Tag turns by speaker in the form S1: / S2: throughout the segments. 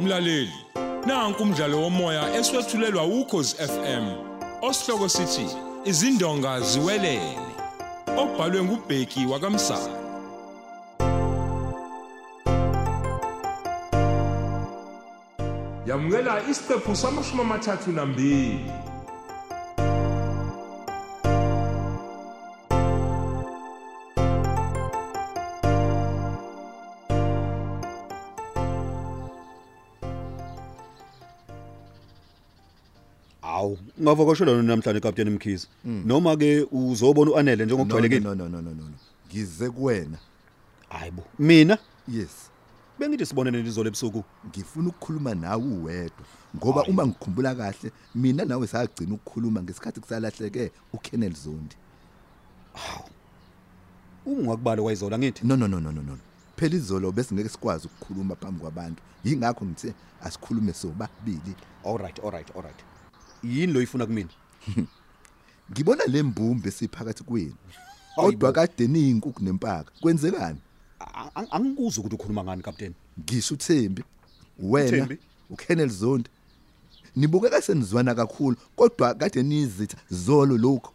S1: Mlaleli, nanku umdlalo womoya eswetshulelwa ukhozi FM. Osihloko sithi izindonga ziwelele. Obhalwe ngubheki wakamsana. Yamukela isiqephu samashumi amathathu nambili.
S2: Awu, ngavakashela nona namhlanje Captain Mkhize. Noma ke uzobona uanele njengokujwayelekile.
S3: Hmm. no no no no no no. Ngize kuwena.
S2: Hayibo. Mina
S3: Yes.
S2: bengithi sibonene izolo ebusuku.
S3: Ngifuna ukukhuluma nawe uwedwa ngoba uma ngikhumbula kahle mina nawe sagcina ukukhuluma ngesikhathi kusalahleke uKenneth Zondi.
S2: Ungakubali kwayizola ngithi.
S3: No no no no no no. Phela izolo bese ngeke sikwazi ukukhuluma phambi kwabantu. Yingakho ngithe asikhulume sobabili.
S2: Alright, alright, alright. Yini lo ifuna kumina?
S3: Ngibona lembumbe esiphakathi kwenu.
S2: Hayibo.
S3: Kodwa kade niyinkukhu nempaka. Kwenzekani?
S2: A- a- Angikuzi ukuthi ukhuluma ngani Captain.
S3: ngisho uThembi wena
S2: UThembi?
S3: uKenneth Zondi nibukeka senizwana kakhulu kodwa kade nizitha zolo lokho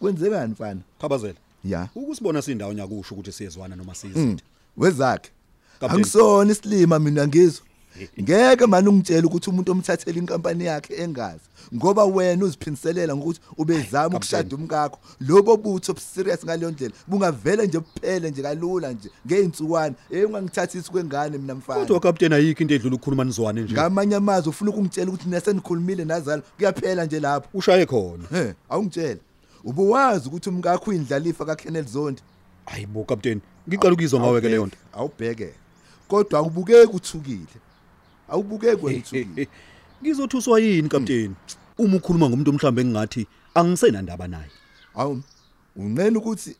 S3: kwenzekani mfana
S2: Khabazela.
S3: ya
S2: Ukusibona sindawo nyakusho ukuthi siyezwana noma
S3: Mm,
S2: sizithe.
S3: wezakhe
S2: Captain.
S3: angisona isilima mina ngizwe ngeke manje ungitshele ukuthi umuntu omthathela inkampani yakhe engazi ngoba wena uziphiniselela ngokuthi ubezama ukushada umkakho lobo butho obuserious ngaleyo ndlela bungavele nje buphele nje kalula nje ngey'nsukwana eyi ungangithathisi kwengane mina mfana
S2: Kodwa Captain ayikho into edlula ukukhuluma nizwane nje.
S3: ngamanye amazwi ufuna ukungitshela ukuthi nasenikhulumile nazalo kuyaphela nje lapho
S2: Ushaye khona.
S3: he awungitshela ubuwazi ukuthi umkakho uyindlalifa kaKenneth Zondi
S2: Hayibo Captain, ngiqala ukuyizwa ngawe ke leyo
S3: Ah,
S2: nto.
S3: awubheke kodwa akubukeki uthukile awubukeki wena uthukile
S2: Ngizothuswa yini Captain?
S3: Hmm.
S2: Uma ukhuluma ngomuntu mhlambe engathi angisenandaba naye.
S3: awu unqena ukuthi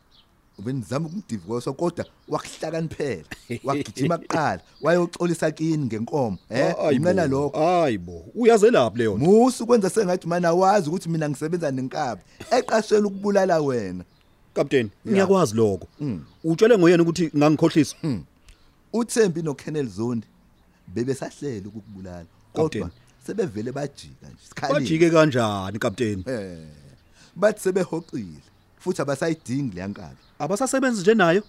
S3: ubenizama ukumdivorsa kodwa wakuhlakaniphela wagijima kuqala wayoxolisa kini ngenkomo eh
S2: Hayibo,
S3: unqena lokho
S2: Hayibo, uyazelaphi leyo nto.
S3: musu kwenza sengathi mana wazi ukuthi mina ngisebenza nenkabi eqashela ukubulala wena
S2: Captain, ngiyakwazi lokho.
S3: Hmm.
S2: Utshele ngoyena ukuthi ngangikhohlisa.
S3: uThembi noKenneth Zondi bebesahlela ukukubulala
S2: Captain.
S3: kodwa sebevele bajika nje sikhalile
S2: Bajike kanjani Captain?
S3: eh bathi sebehoqile futhi abasayidingi leyankabi
S2: Abasasebenzi nje nayo?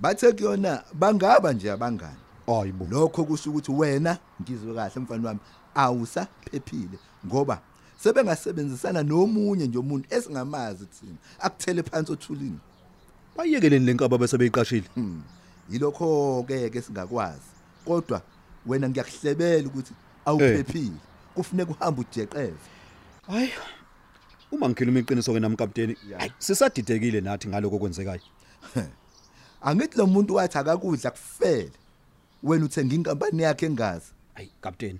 S3: bathe kuyona bangaba nje abangani
S2: Hayibo.
S3: lokho kusho ukuthi wena ngizwe kahle mfana wami awusaphephile ngoba sebengasebenzisana nomunye nje umuntu esingamazi thina akuthele phansi othulini
S2: Bayekeleni lenkaba bese beyiqashile.
S3: Hmm. yilokho ke ke singakwazi kodwa wena ngiyakuhlebela ukuthi awuphephile kufuneka uhambe ujeqeze
S2: Hayi. Uma ngikhuluma iqiniso ke nami Captain,
S3: Ya.
S2: hayi sisadidekile nathi ngaloko kwenzekayo.
S3: angithi lo muntu wathi akakudla kufele wena uthenga inkampani yakhe engazi
S2: Hayi Captain.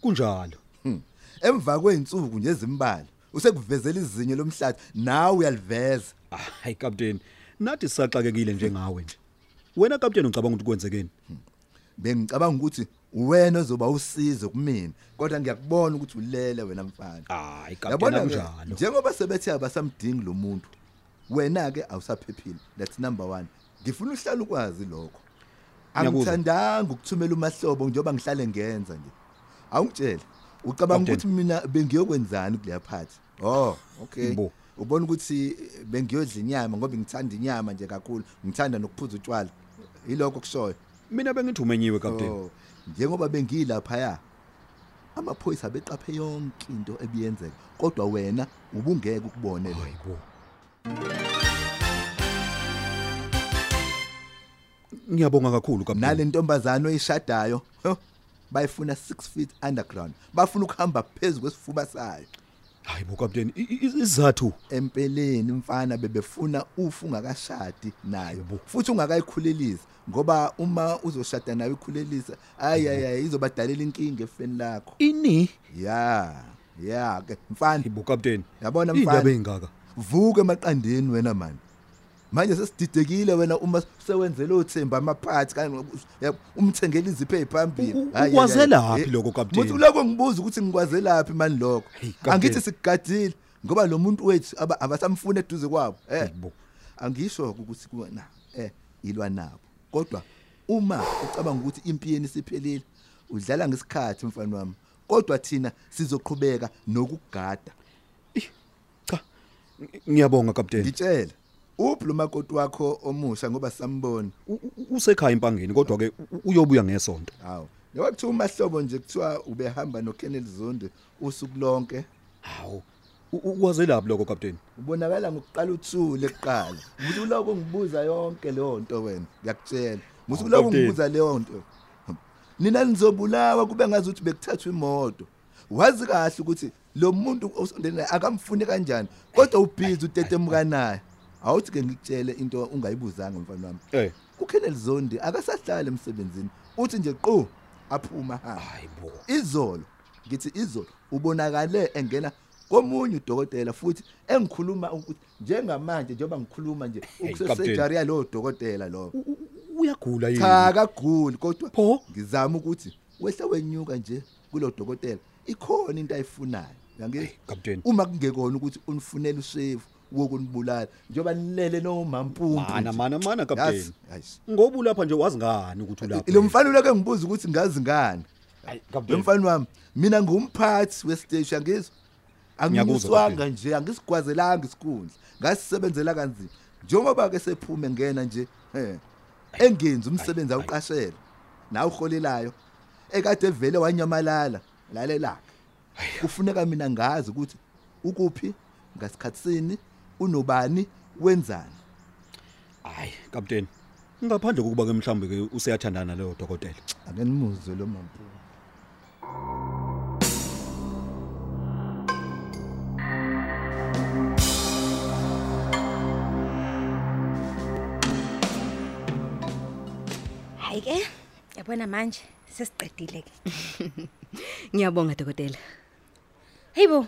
S2: Kunjalo.
S3: Hmm. emva kwey'nsuku nje ezimbalwa usekuvezela izinyo lomhlathi nawe uyaliveza
S2: Ah, Hayi Captain, nathi sisaxakekile njengawe nje. Wena Captain ucabanga ukuthi kwenzekeni?
S3: bengicabanga ukuthi wena ozoba usizo kumina kodwa ngiyakubona ukuthi ulele wena mfana
S2: Hayi Captain akunjalo.
S3: njengoba sebethe abasamdingi lo muntu wena-ke awusaphephile that's number one ngifuna uhlale ukwazi lokho
S2: Ngiyakuzwa.
S3: angithandanga ukuthumela umahlobo njengoba ngihlale ngenza nje awungitshele ucabanga
S2: Captain.
S3: ukuthi mina bengiyokwenzani kuleya phathi oh okay
S2: Bo.
S3: ubona ukuthi bengiyodla inyama ngoba ngithanda inyama nje kakhulu ngithanda nokuphuza utshwala yilokho kushoyo
S2: Mina bengithumenyiwe Captain.
S3: Oh, njengoba bengilaphaya amaphoyisa beqaphe yonke into ebiyenzeka kodwa wena ubungeke ukubone lo
S2: Hayibo. Ngiyabonga kakhulu Captain.
S3: nale ntombazana oyishadayo huh, bayifuna 6 feet underground bafuna ukuhamba phezulu kwesifuba sayo
S2: Hayibo Captain, i- i- isizathu
S3: empeleni mfana bebefuna ufu ungakashadi nayo
S2: Yebo.
S3: futhi ungakayikhulelisi ngoba uma uzoshada nayo ikhulelisa ayayayi izobadalela inkinga efeni lakho
S2: ini
S3: ya ya ke mfana
S2: Hayibo Captain.
S3: Yabona mfana.
S2: indaba engaka.
S3: vuka emaqandeni wena manje manje sesididekile wena uma sewenzele uthemba amaphathi kanye yabo, umthengele izipho eziphambili
S2: U- u-
S3: Hhayi,
S2: ukwazelaphi
S3: eh,
S2: lokho, Captain?
S3: muthi uloko ngibuza ukuthi ngikwazelaphi mani lokho
S2: Hey, Captain.
S3: angithi sikugadile ngoba lo muntu wethu aba- abasamfuni eduze kwabo eh
S2: Yebo.
S3: angisho ukuthi kuwena eh ilwa nabo kodwa uma ucabanga ukuthi impi yeni isiphelile udlala ngesikhathi mfana wami kodwa thina sizoqhubeka nokugada
S2: cha ngiyabonga kapteni
S3: ngitshela uphi lo makoti wakho omusha ngoba sambona
S2: U- u- usekhaya empangeni kodwa ke uyobuya ngesonto
S3: hawu ngoba kuthiwa umahlobo nje kuthiwa ubehamba noKenneth Zondo usuku lonke
S2: hawu u- u- ukwazelaphi lokho kapteni
S3: ubonakala ngokuqala uthule kuqala ukuthi uloko ngibuza yonke leyo nto wena ngiyakutshela ukuthi
S2: Hawu,
S3: uloko
S2: Captain.
S3: ngibuza leyo nto nina nizobulawa kube ngazi ukuthi bekuthathwa imoto wazi kahle ukuthi lo muntu osondele naye akamfuni kanjani kodwa ubhizi utetemuka naye awuthi ke ngikutshele into ungayibuzanga mfana wami
S2: Eh.
S3: uKenneth Zondi akasahlali emsebenzini uthi nje qo aphuma hamba
S2: hayi bo
S3: izolo ngithi izolo ubonakale engena komunye udokotela futhi engikhuluma ukuthi njengamanje njengoba ngikhuluma nje
S2: Captain.
S3: ukusesejari yalowo dokotela lo
S2: U- u- uyagula
S3: cha
S2: yini
S3: kaguli kodwa
S2: Pho?
S3: ngizama ukuthi wehle wenyuka nje kulo dokotela ikhona into ayifunayo yange
S2: Hey, Captain.
S3: uma kungekona ukuthi unifunele ushevu wokunibulala njoba nilele nomampungu
S2: mana
S3: nje.
S2: mana mana
S3: Yazi,
S2: kapteni
S3: hayi
S2: ngoba ulapha nje wazi ngani ukuthi ulapha
S3: lo mfana uleke ngibuza ukuthi ngazi ngani
S2: Hayi,
S3: lo
S2: kapteni
S3: mfana wami mina ngumphathi wesiteshi angizwa anginyuswanga
S2: Captain.
S3: nje angisigwazelanga isikhundla ngasisebenzela kanzima njengoba ke sephume ngena nje eh, engenzi umsebenzi awuqashela nawe uholelayo ekade vele wanyamalala lalelaka kufuneka mina ngazi ukuthi ukuphi ngasikhatsini unobani wenzani
S2: hayi kapteni ngaphandle kokuba ke mhlambe ke useyathandana leyo dokotela
S3: akenimuzwe lo mampungu
S4: hayi ke yabona manje sesiqedile ke
S5: Ngiyabonga dokotela.
S4: heyi bo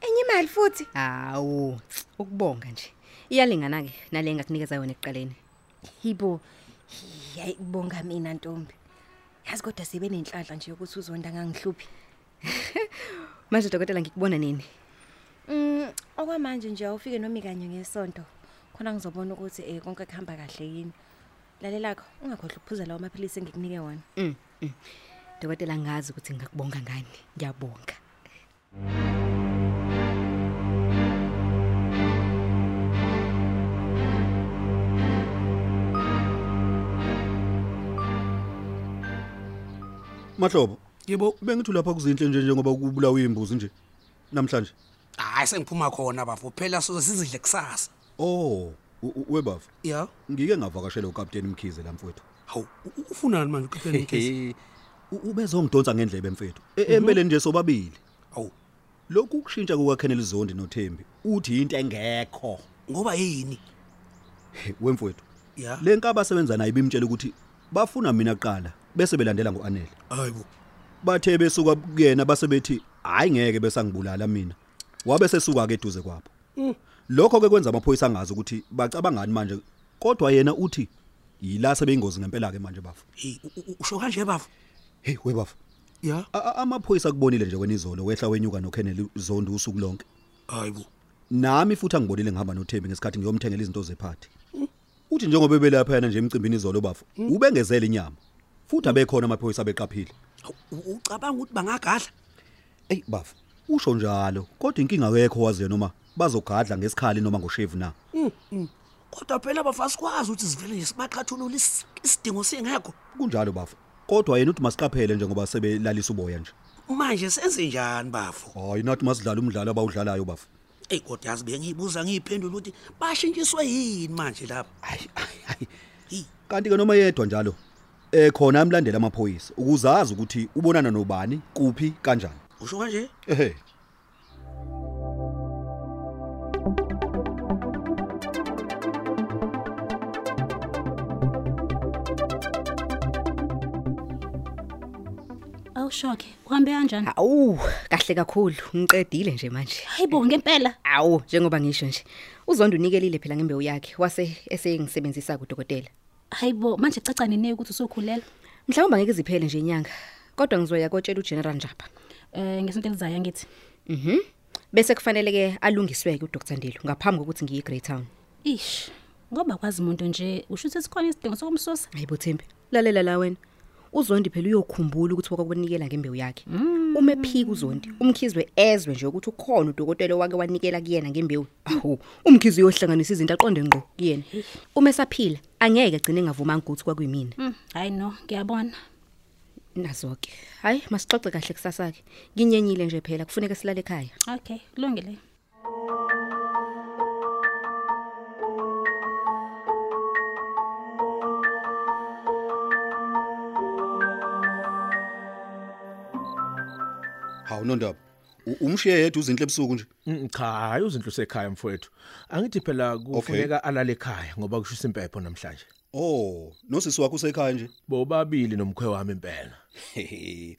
S4: enye imali futhi
S5: Hawu, ukubonga nje. Iyalingana ke nale engakunikeza yona ekuqaleni.
S4: hibo hayi kubonga mina ntombi yazi kodwa sibe nenhlanhla nje yokuthi uzonda ngangihluphi
S5: Manje dokotela ngikubona nini?
S4: um okwamanje nje awufike nomi kanye ngesonto khona ngizobona ukuthi um konke kuhamba kahle yini lalelakho ungakhohlwa ukuphuza lawo maphilisi engikunike wona
S5: Mm. mm. Dokotela ngazi ukuthi ngakubonga ngani. Ngiyabonga.
S2: mahlobo yebo bengithi lapha kuzinhle nje njengoba kubulawa imbuzi nje namhlanje
S6: hayi sengiphuma khona bafu phela sizidle kusasa
S2: oh u- u- webafa
S6: ya
S2: ngike ngavakashela ukapteni mkhize la mfowethu
S6: hawu u- ufunani manje ukapteni mkhize
S2: U- ubezongidonsa ngendlebe mfethu E- empeleni nje sobabili
S6: hawu
S2: lokhu kushintsha kukaKenneth Zondi noThembi uthi into engekho
S6: ngoba yini
S2: He, wemfowethu
S6: ya
S2: lenkaba asebenza naye bimtshela ukuthi bafuna mina qala bese belandela ngoanele
S6: hayibo
S2: bathe besuka kuyena basebethi hayi ngeke besangibulala mina wabe sesuka ke eduze kwabo lokho ke kwenza amaphoyisa angazi ukuthi bacabangani manje kodwa yena uthi yila sebeyingozi ngempela ke manje bafu
S6: hey u- u- usho kanje bafu
S2: hey webafu
S6: ya
S2: A- a- amaphoyisa kubonile nje wena izolo wehla wenyuka noKenneth Zondi usuku lonke
S6: hayibo
S2: nami futhi angibonile ngihamba noThembi ngesikhathi ngiyomthengela izinto zephathi uthi njengoba belapha yana nje emcimbini izolo bafu ubengezela inyama futhi abekhona amaphoyisa abeqaphile
S6: Hawu, u- ucabanga ukuthi bangagadla
S2: Ey bafu, usho njalo, kodwa inkinga akekho waziyo noma bazogadla ngesikhali noma ngoshevu na.
S6: kodwa phela bafu asikwazi ukuthi sivele nje sibaqhathulule isi- isidingo singekho
S2: Kunjalo bafu. Kodwa yena uthi masiqaphele njengoba sebelalisa uboya nje.
S6: manje senze njani bafu
S2: Hayi nathi masidlala umdlalo abawudlalayo bafu.
S6: eyi kodwa yazi bengiyibuza ngiyiphendula ukuthi bashintshiswe yini manje lapha
S2: Hayi hayi, hayi.
S6: Hi.
S2: Kanti ke noma yedwa njalo eh khona amlandela amaphoyisa ukuzazi ukuthi ubonana nobani, kuphi, kanjani.
S6: usho kanje
S2: Ehhe.
S7: awushoke uhambe kanjani
S5: Hawu, kahle kakhulu. Ngiqedile nje manje.
S7: hayibo ngempela
S5: Hawu, njengoba ngisho nje. Uzondo unikelile phela ngembewu yakhe wase esengisebenzisa kudokotela.
S7: hayibo manje caca nine ukuthi usukhulela
S5: Mhlawumbe angeke iziphele nje inyanga. Kodwa ngizoya kotshela uGeneral Njapa.
S7: um ngesinto elizayo ngithi
S5: Mhm. Bese kufanele ke alungiswe ke uDr Ndilo ngaphambi kokuthi ngiye eGreytown.
S7: ish ngoba kwazi umuntu nje usho ukuthi sikhona isidingo sokumsusa
S5: Hayibo Thembi, lalela la wena. uzondi phela uyokhumbula ukuthi wakwakunikela ngembewu yakhe uma ephika uzondi umkhizwe ezwe nje ukuthi ukhona udokotela wake wanikela kuyena ngembewu awu umkhizwe uyohlanganisa izinto aqonde ngqo kuyena uma esaphila angeke agcine engavumanga ukuthi kwakuyimina
S7: Mm, hayi no ngiyabona
S5: nazo-ke hhayi masixoxe kahle kusasa ke nginyenyile nje phela kufuneka silale ekhaya
S7: okay kulungile
S2: hawu nondaba u- umshiye yedwa uzinhle ebusuku nje
S8: Mm, cha hayi uzinhle usekhaya mfowethu angithi phela kufuneka alale ekhaya ngoba kushisa impepho namhlanje
S2: oh nosisi wakho usekhaya nje
S8: bobabili nomkhwe wami impela
S2: Hehe.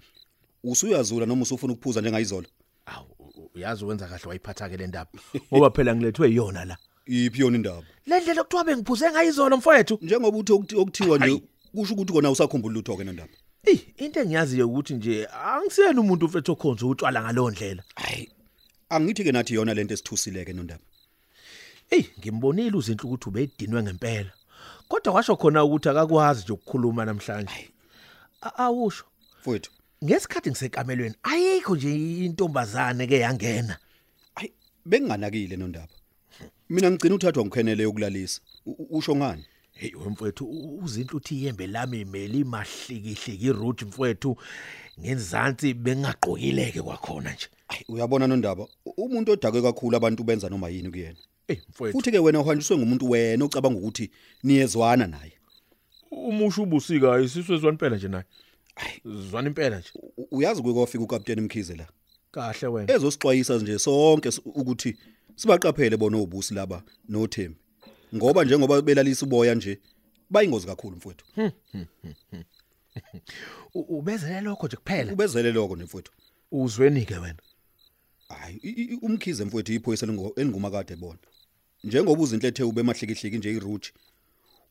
S2: usuyazula noma usufuna ukuphuza njengayizolo
S8: awu u- uyazi wenza kahle wayiphatha ke le ndaba ngoba phela ngilethwe yona la
S2: iphi yona indaba
S8: le ndlela okuthiwa bengiphuze ngayizolo mfowethu
S2: njengoba uthi okuthi- okuthiwa nje
S8: Hayi.
S2: kusho ukuthi kona usakhumbula lutho ke nondaba
S8: eyi into engiyaziyo ukuthi nje angisiyena umuntu mfethu okhonza utshwala ngaleyo ndlela
S2: hayi angithi ke nathi yona lento esithusile ke nondaba
S8: eyi ngimbonile uzinhle ukuthi ubeyidinwe ngempela kodwa kwasho khona ukuthi akakwazi nje ukukhuluma namhlanje A- awusho
S2: mfowethu
S8: ngesikhathi ngisekamelweni ayikho nje intombazane ke yangena
S2: hayi benginganakile nondaba mina ngicina uthathwa ngikhenele yokulalisa U- u- usho ngani
S8: Hey wemfowethu u- uzinhle uthi iyembe lami imeli mahlikihliki iroute mfowethu ngenzansi bengaqokileke kwakhona nje.
S2: hayi uyabona nondaba u- umuntu odakwe kakhulu abantu benza noma yini kuyena
S8: Hey mfowethu
S2: futhi ke wena uhanjiswe ngumuntu wena ocabanga ukuthi niyezwana naye
S8: umusha ubusika isizwe zwanipela nje naye. Zwana impela nje.
S2: U- uyazi kuye kwafika ukapteni Mkhize la
S8: Kahle wena.
S2: ezosixwayisa nje sonke s- ukuthi sibaqaphele bona obusi laba noThembi ngoba njengoba belalisa uboya nje bayingozi kakhulu mfowethu
S8: U- Ubezele lokho nje kuphela.
S2: ubezele lokho nemfowethu
S8: Uzweni ke wena.
S2: hayi i- i- umkhize mfowethu iphoyisa elingo- elingumakade bona njengoba uzinhle ethe ube mahlikihliki nje iruji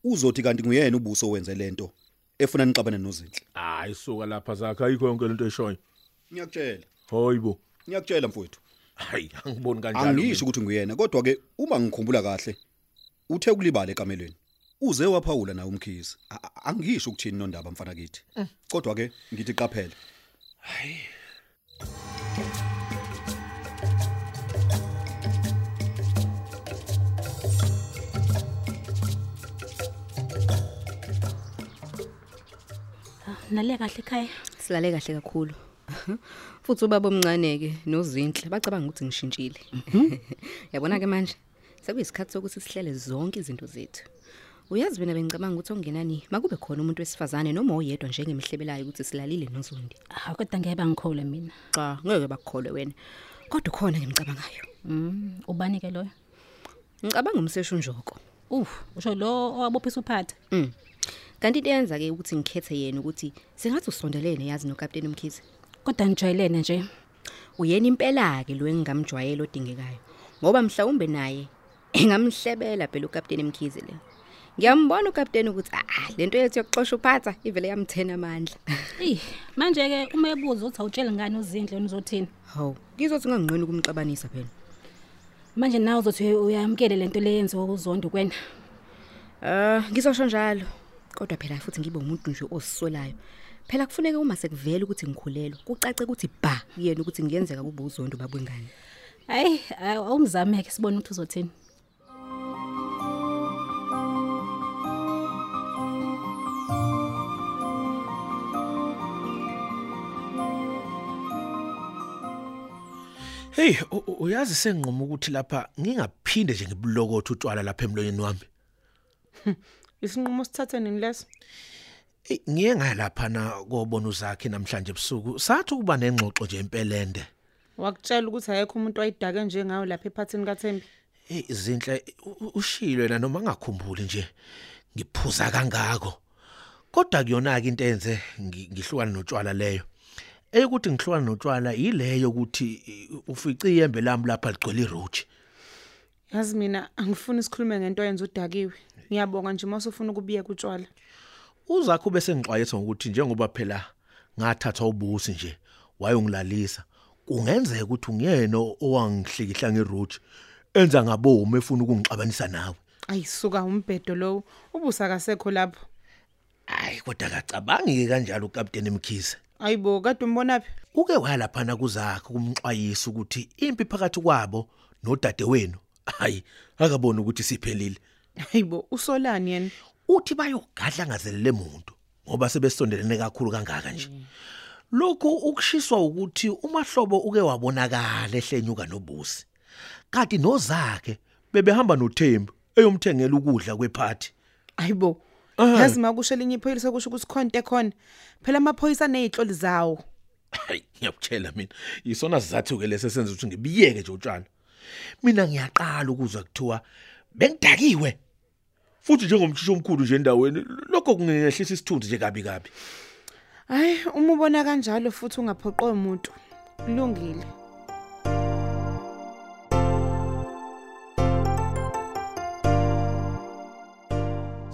S2: uzothi kanti nguyena ubuso owenze lento efuna nixabane nozinhle
S8: Hayi suka lapha zakhe ayikho yonke lento eshoyo.
S2: ngiyakutshela
S8: Hoyibo.
S2: ngiyakutshela mfowethu
S8: Hayi angiboni kanjalo.
S2: angisho
S8: mina.
S2: ukuthi nguyena kodwa ke uma ngikhumbula kahle uthe kulibala ekamelweni uze waphawula naye umkhize A- a- angisho ukuthini nondaba mfana kithi kodwa ke ngithi qaphela
S7: nale kahle ekhaya
S5: silale kahle kakhulu futhi ubaba omncane-ke nozinhle bacabanga ukuthi ngishintshile yabona-ke manje sekuyisikhathi sokuthi sihlele zonke izinto zethu uyazi wena bengicabanga ukuthi okungenani makube khona umuntu wesifazane noma oyedwa njengemihlebelayo ukuthi silalile nozondi
S7: ah kodwa ngeke bangikhole mina
S5: xa ngeke bakukholwe wena kodwa ukhona ngimcabangayo
S7: mm ubani ke loyo
S5: ngicabanga umseshu njoko
S7: uf usho lo owabophisa uphatha
S5: Mm. kanti into eyenza-ke ukuthi ngikhethe yena ukuthi singathi usondelene yazi nokapteni mkhize
S7: kodwa ngijwayelene nje
S5: uyena impela-ke lo engingamjwayela odingekayo ngoba mhlawumbe naye engamhlebela phela ukapteni mkhize le ngiyambona ukapteni ukuthi aa le nto yethu yokuxosha uphatha ivele yamthena amandla
S7: eyi manje-ke uma ebuza ukuthi awutshele ngani uzindle yona uzothini
S5: hawu ngizothi unganginqeni ukumxabanisa phela
S7: manje nawe uzothi uya- uyamukele le nto le yenziwa uzondo kwena
S5: um ngizosho njalo kodwa phela futhi ngibe umuntu nje osisolayo phela kufuneka uma sekuvela ukuthi ngikhulelwa kucace ukuthi ba yena ukuthi kungenzeka kube uzondo babwengane
S7: hhayi awu- awumzame-ke sibone ukuthi uzothini
S8: Hey u- u- uyazi sengqoma ukuthi lapha ngingaphinde nje ngibulokothe utshwala lapha emlonyeni wami.
S9: isinqumo sithathe nini leso
S8: Eyi, ngiye ngalapha na kobona uzakhe namhlanje ebusuku sathi ukuba nengxoxo nje empelende
S9: wakutshela ukuthi ayekho umuntu wayidake njengayo lapha ephathini kathembi
S8: hey izinhle u- ushilo yena noma ngakhumbuli nje ngiphuza kangako kodwa kuyona ke into enze ngi- ngihlukana notshwala leyo eyukuthi ngihlukana notshwala yileyo ukuthi i- ufica iyembe lami lapha ligcwele iroach
S9: yazi mina angifuni sikhulume ngento yenza udakiwe ngiyabonga nje uma usufuna ukubiye kutshwala
S8: uzakhe ube sengixwayiswa ngokuthi njengoba phela ngathathwa ubusi nje wayongilalisa kungenzeka ukuthi ungiyena owangihlikihla ngeroach enza ngabomu efuna ukungixabanisa nawe
S9: ayisuka umbhedo lowo ubusakasekho lapho
S8: hayi kodwa akacabangi kanjalo ukapteni Mkhize
S9: Ayibo kade umbonaphi?
S8: uke walaphana kuzakhe kumxwayisa ukuthi impi phakathi kwabo nodadewenu hayi akabona ukuthi siphelile
S9: Ayibo usolani yena?
S8: uthi bayogadla ngazelele umuntu ngoba sebesondelene kakhulu kangaka nje lokhu ukushiswa ukuthi umahlobo uke wabonakala ehlenyuka nobusi kanti nozakhe bebehamba noThembu eyomthengela ukudla kwephathi
S9: Ayibo.
S8: Eh.
S9: Yazi makusho elinye iphoyisa kusho ukuthi khonte khona. Phela amaphoyisa nezihloli zawo.
S8: hayi ngiyakutshela mina yisona sizathu ke lesesenza ukuthi ngibiyeke nje utshana mina ngiyaqala ukuzwa kuthiwa bengidakiwe futhi njengomtshisi omkhulu nje endaweni lokho kungehlisa isithunzi nje kabi kabi
S9: Hayi uma ubona kanjalo futhi ungaphoqo umuntu. Kulungile.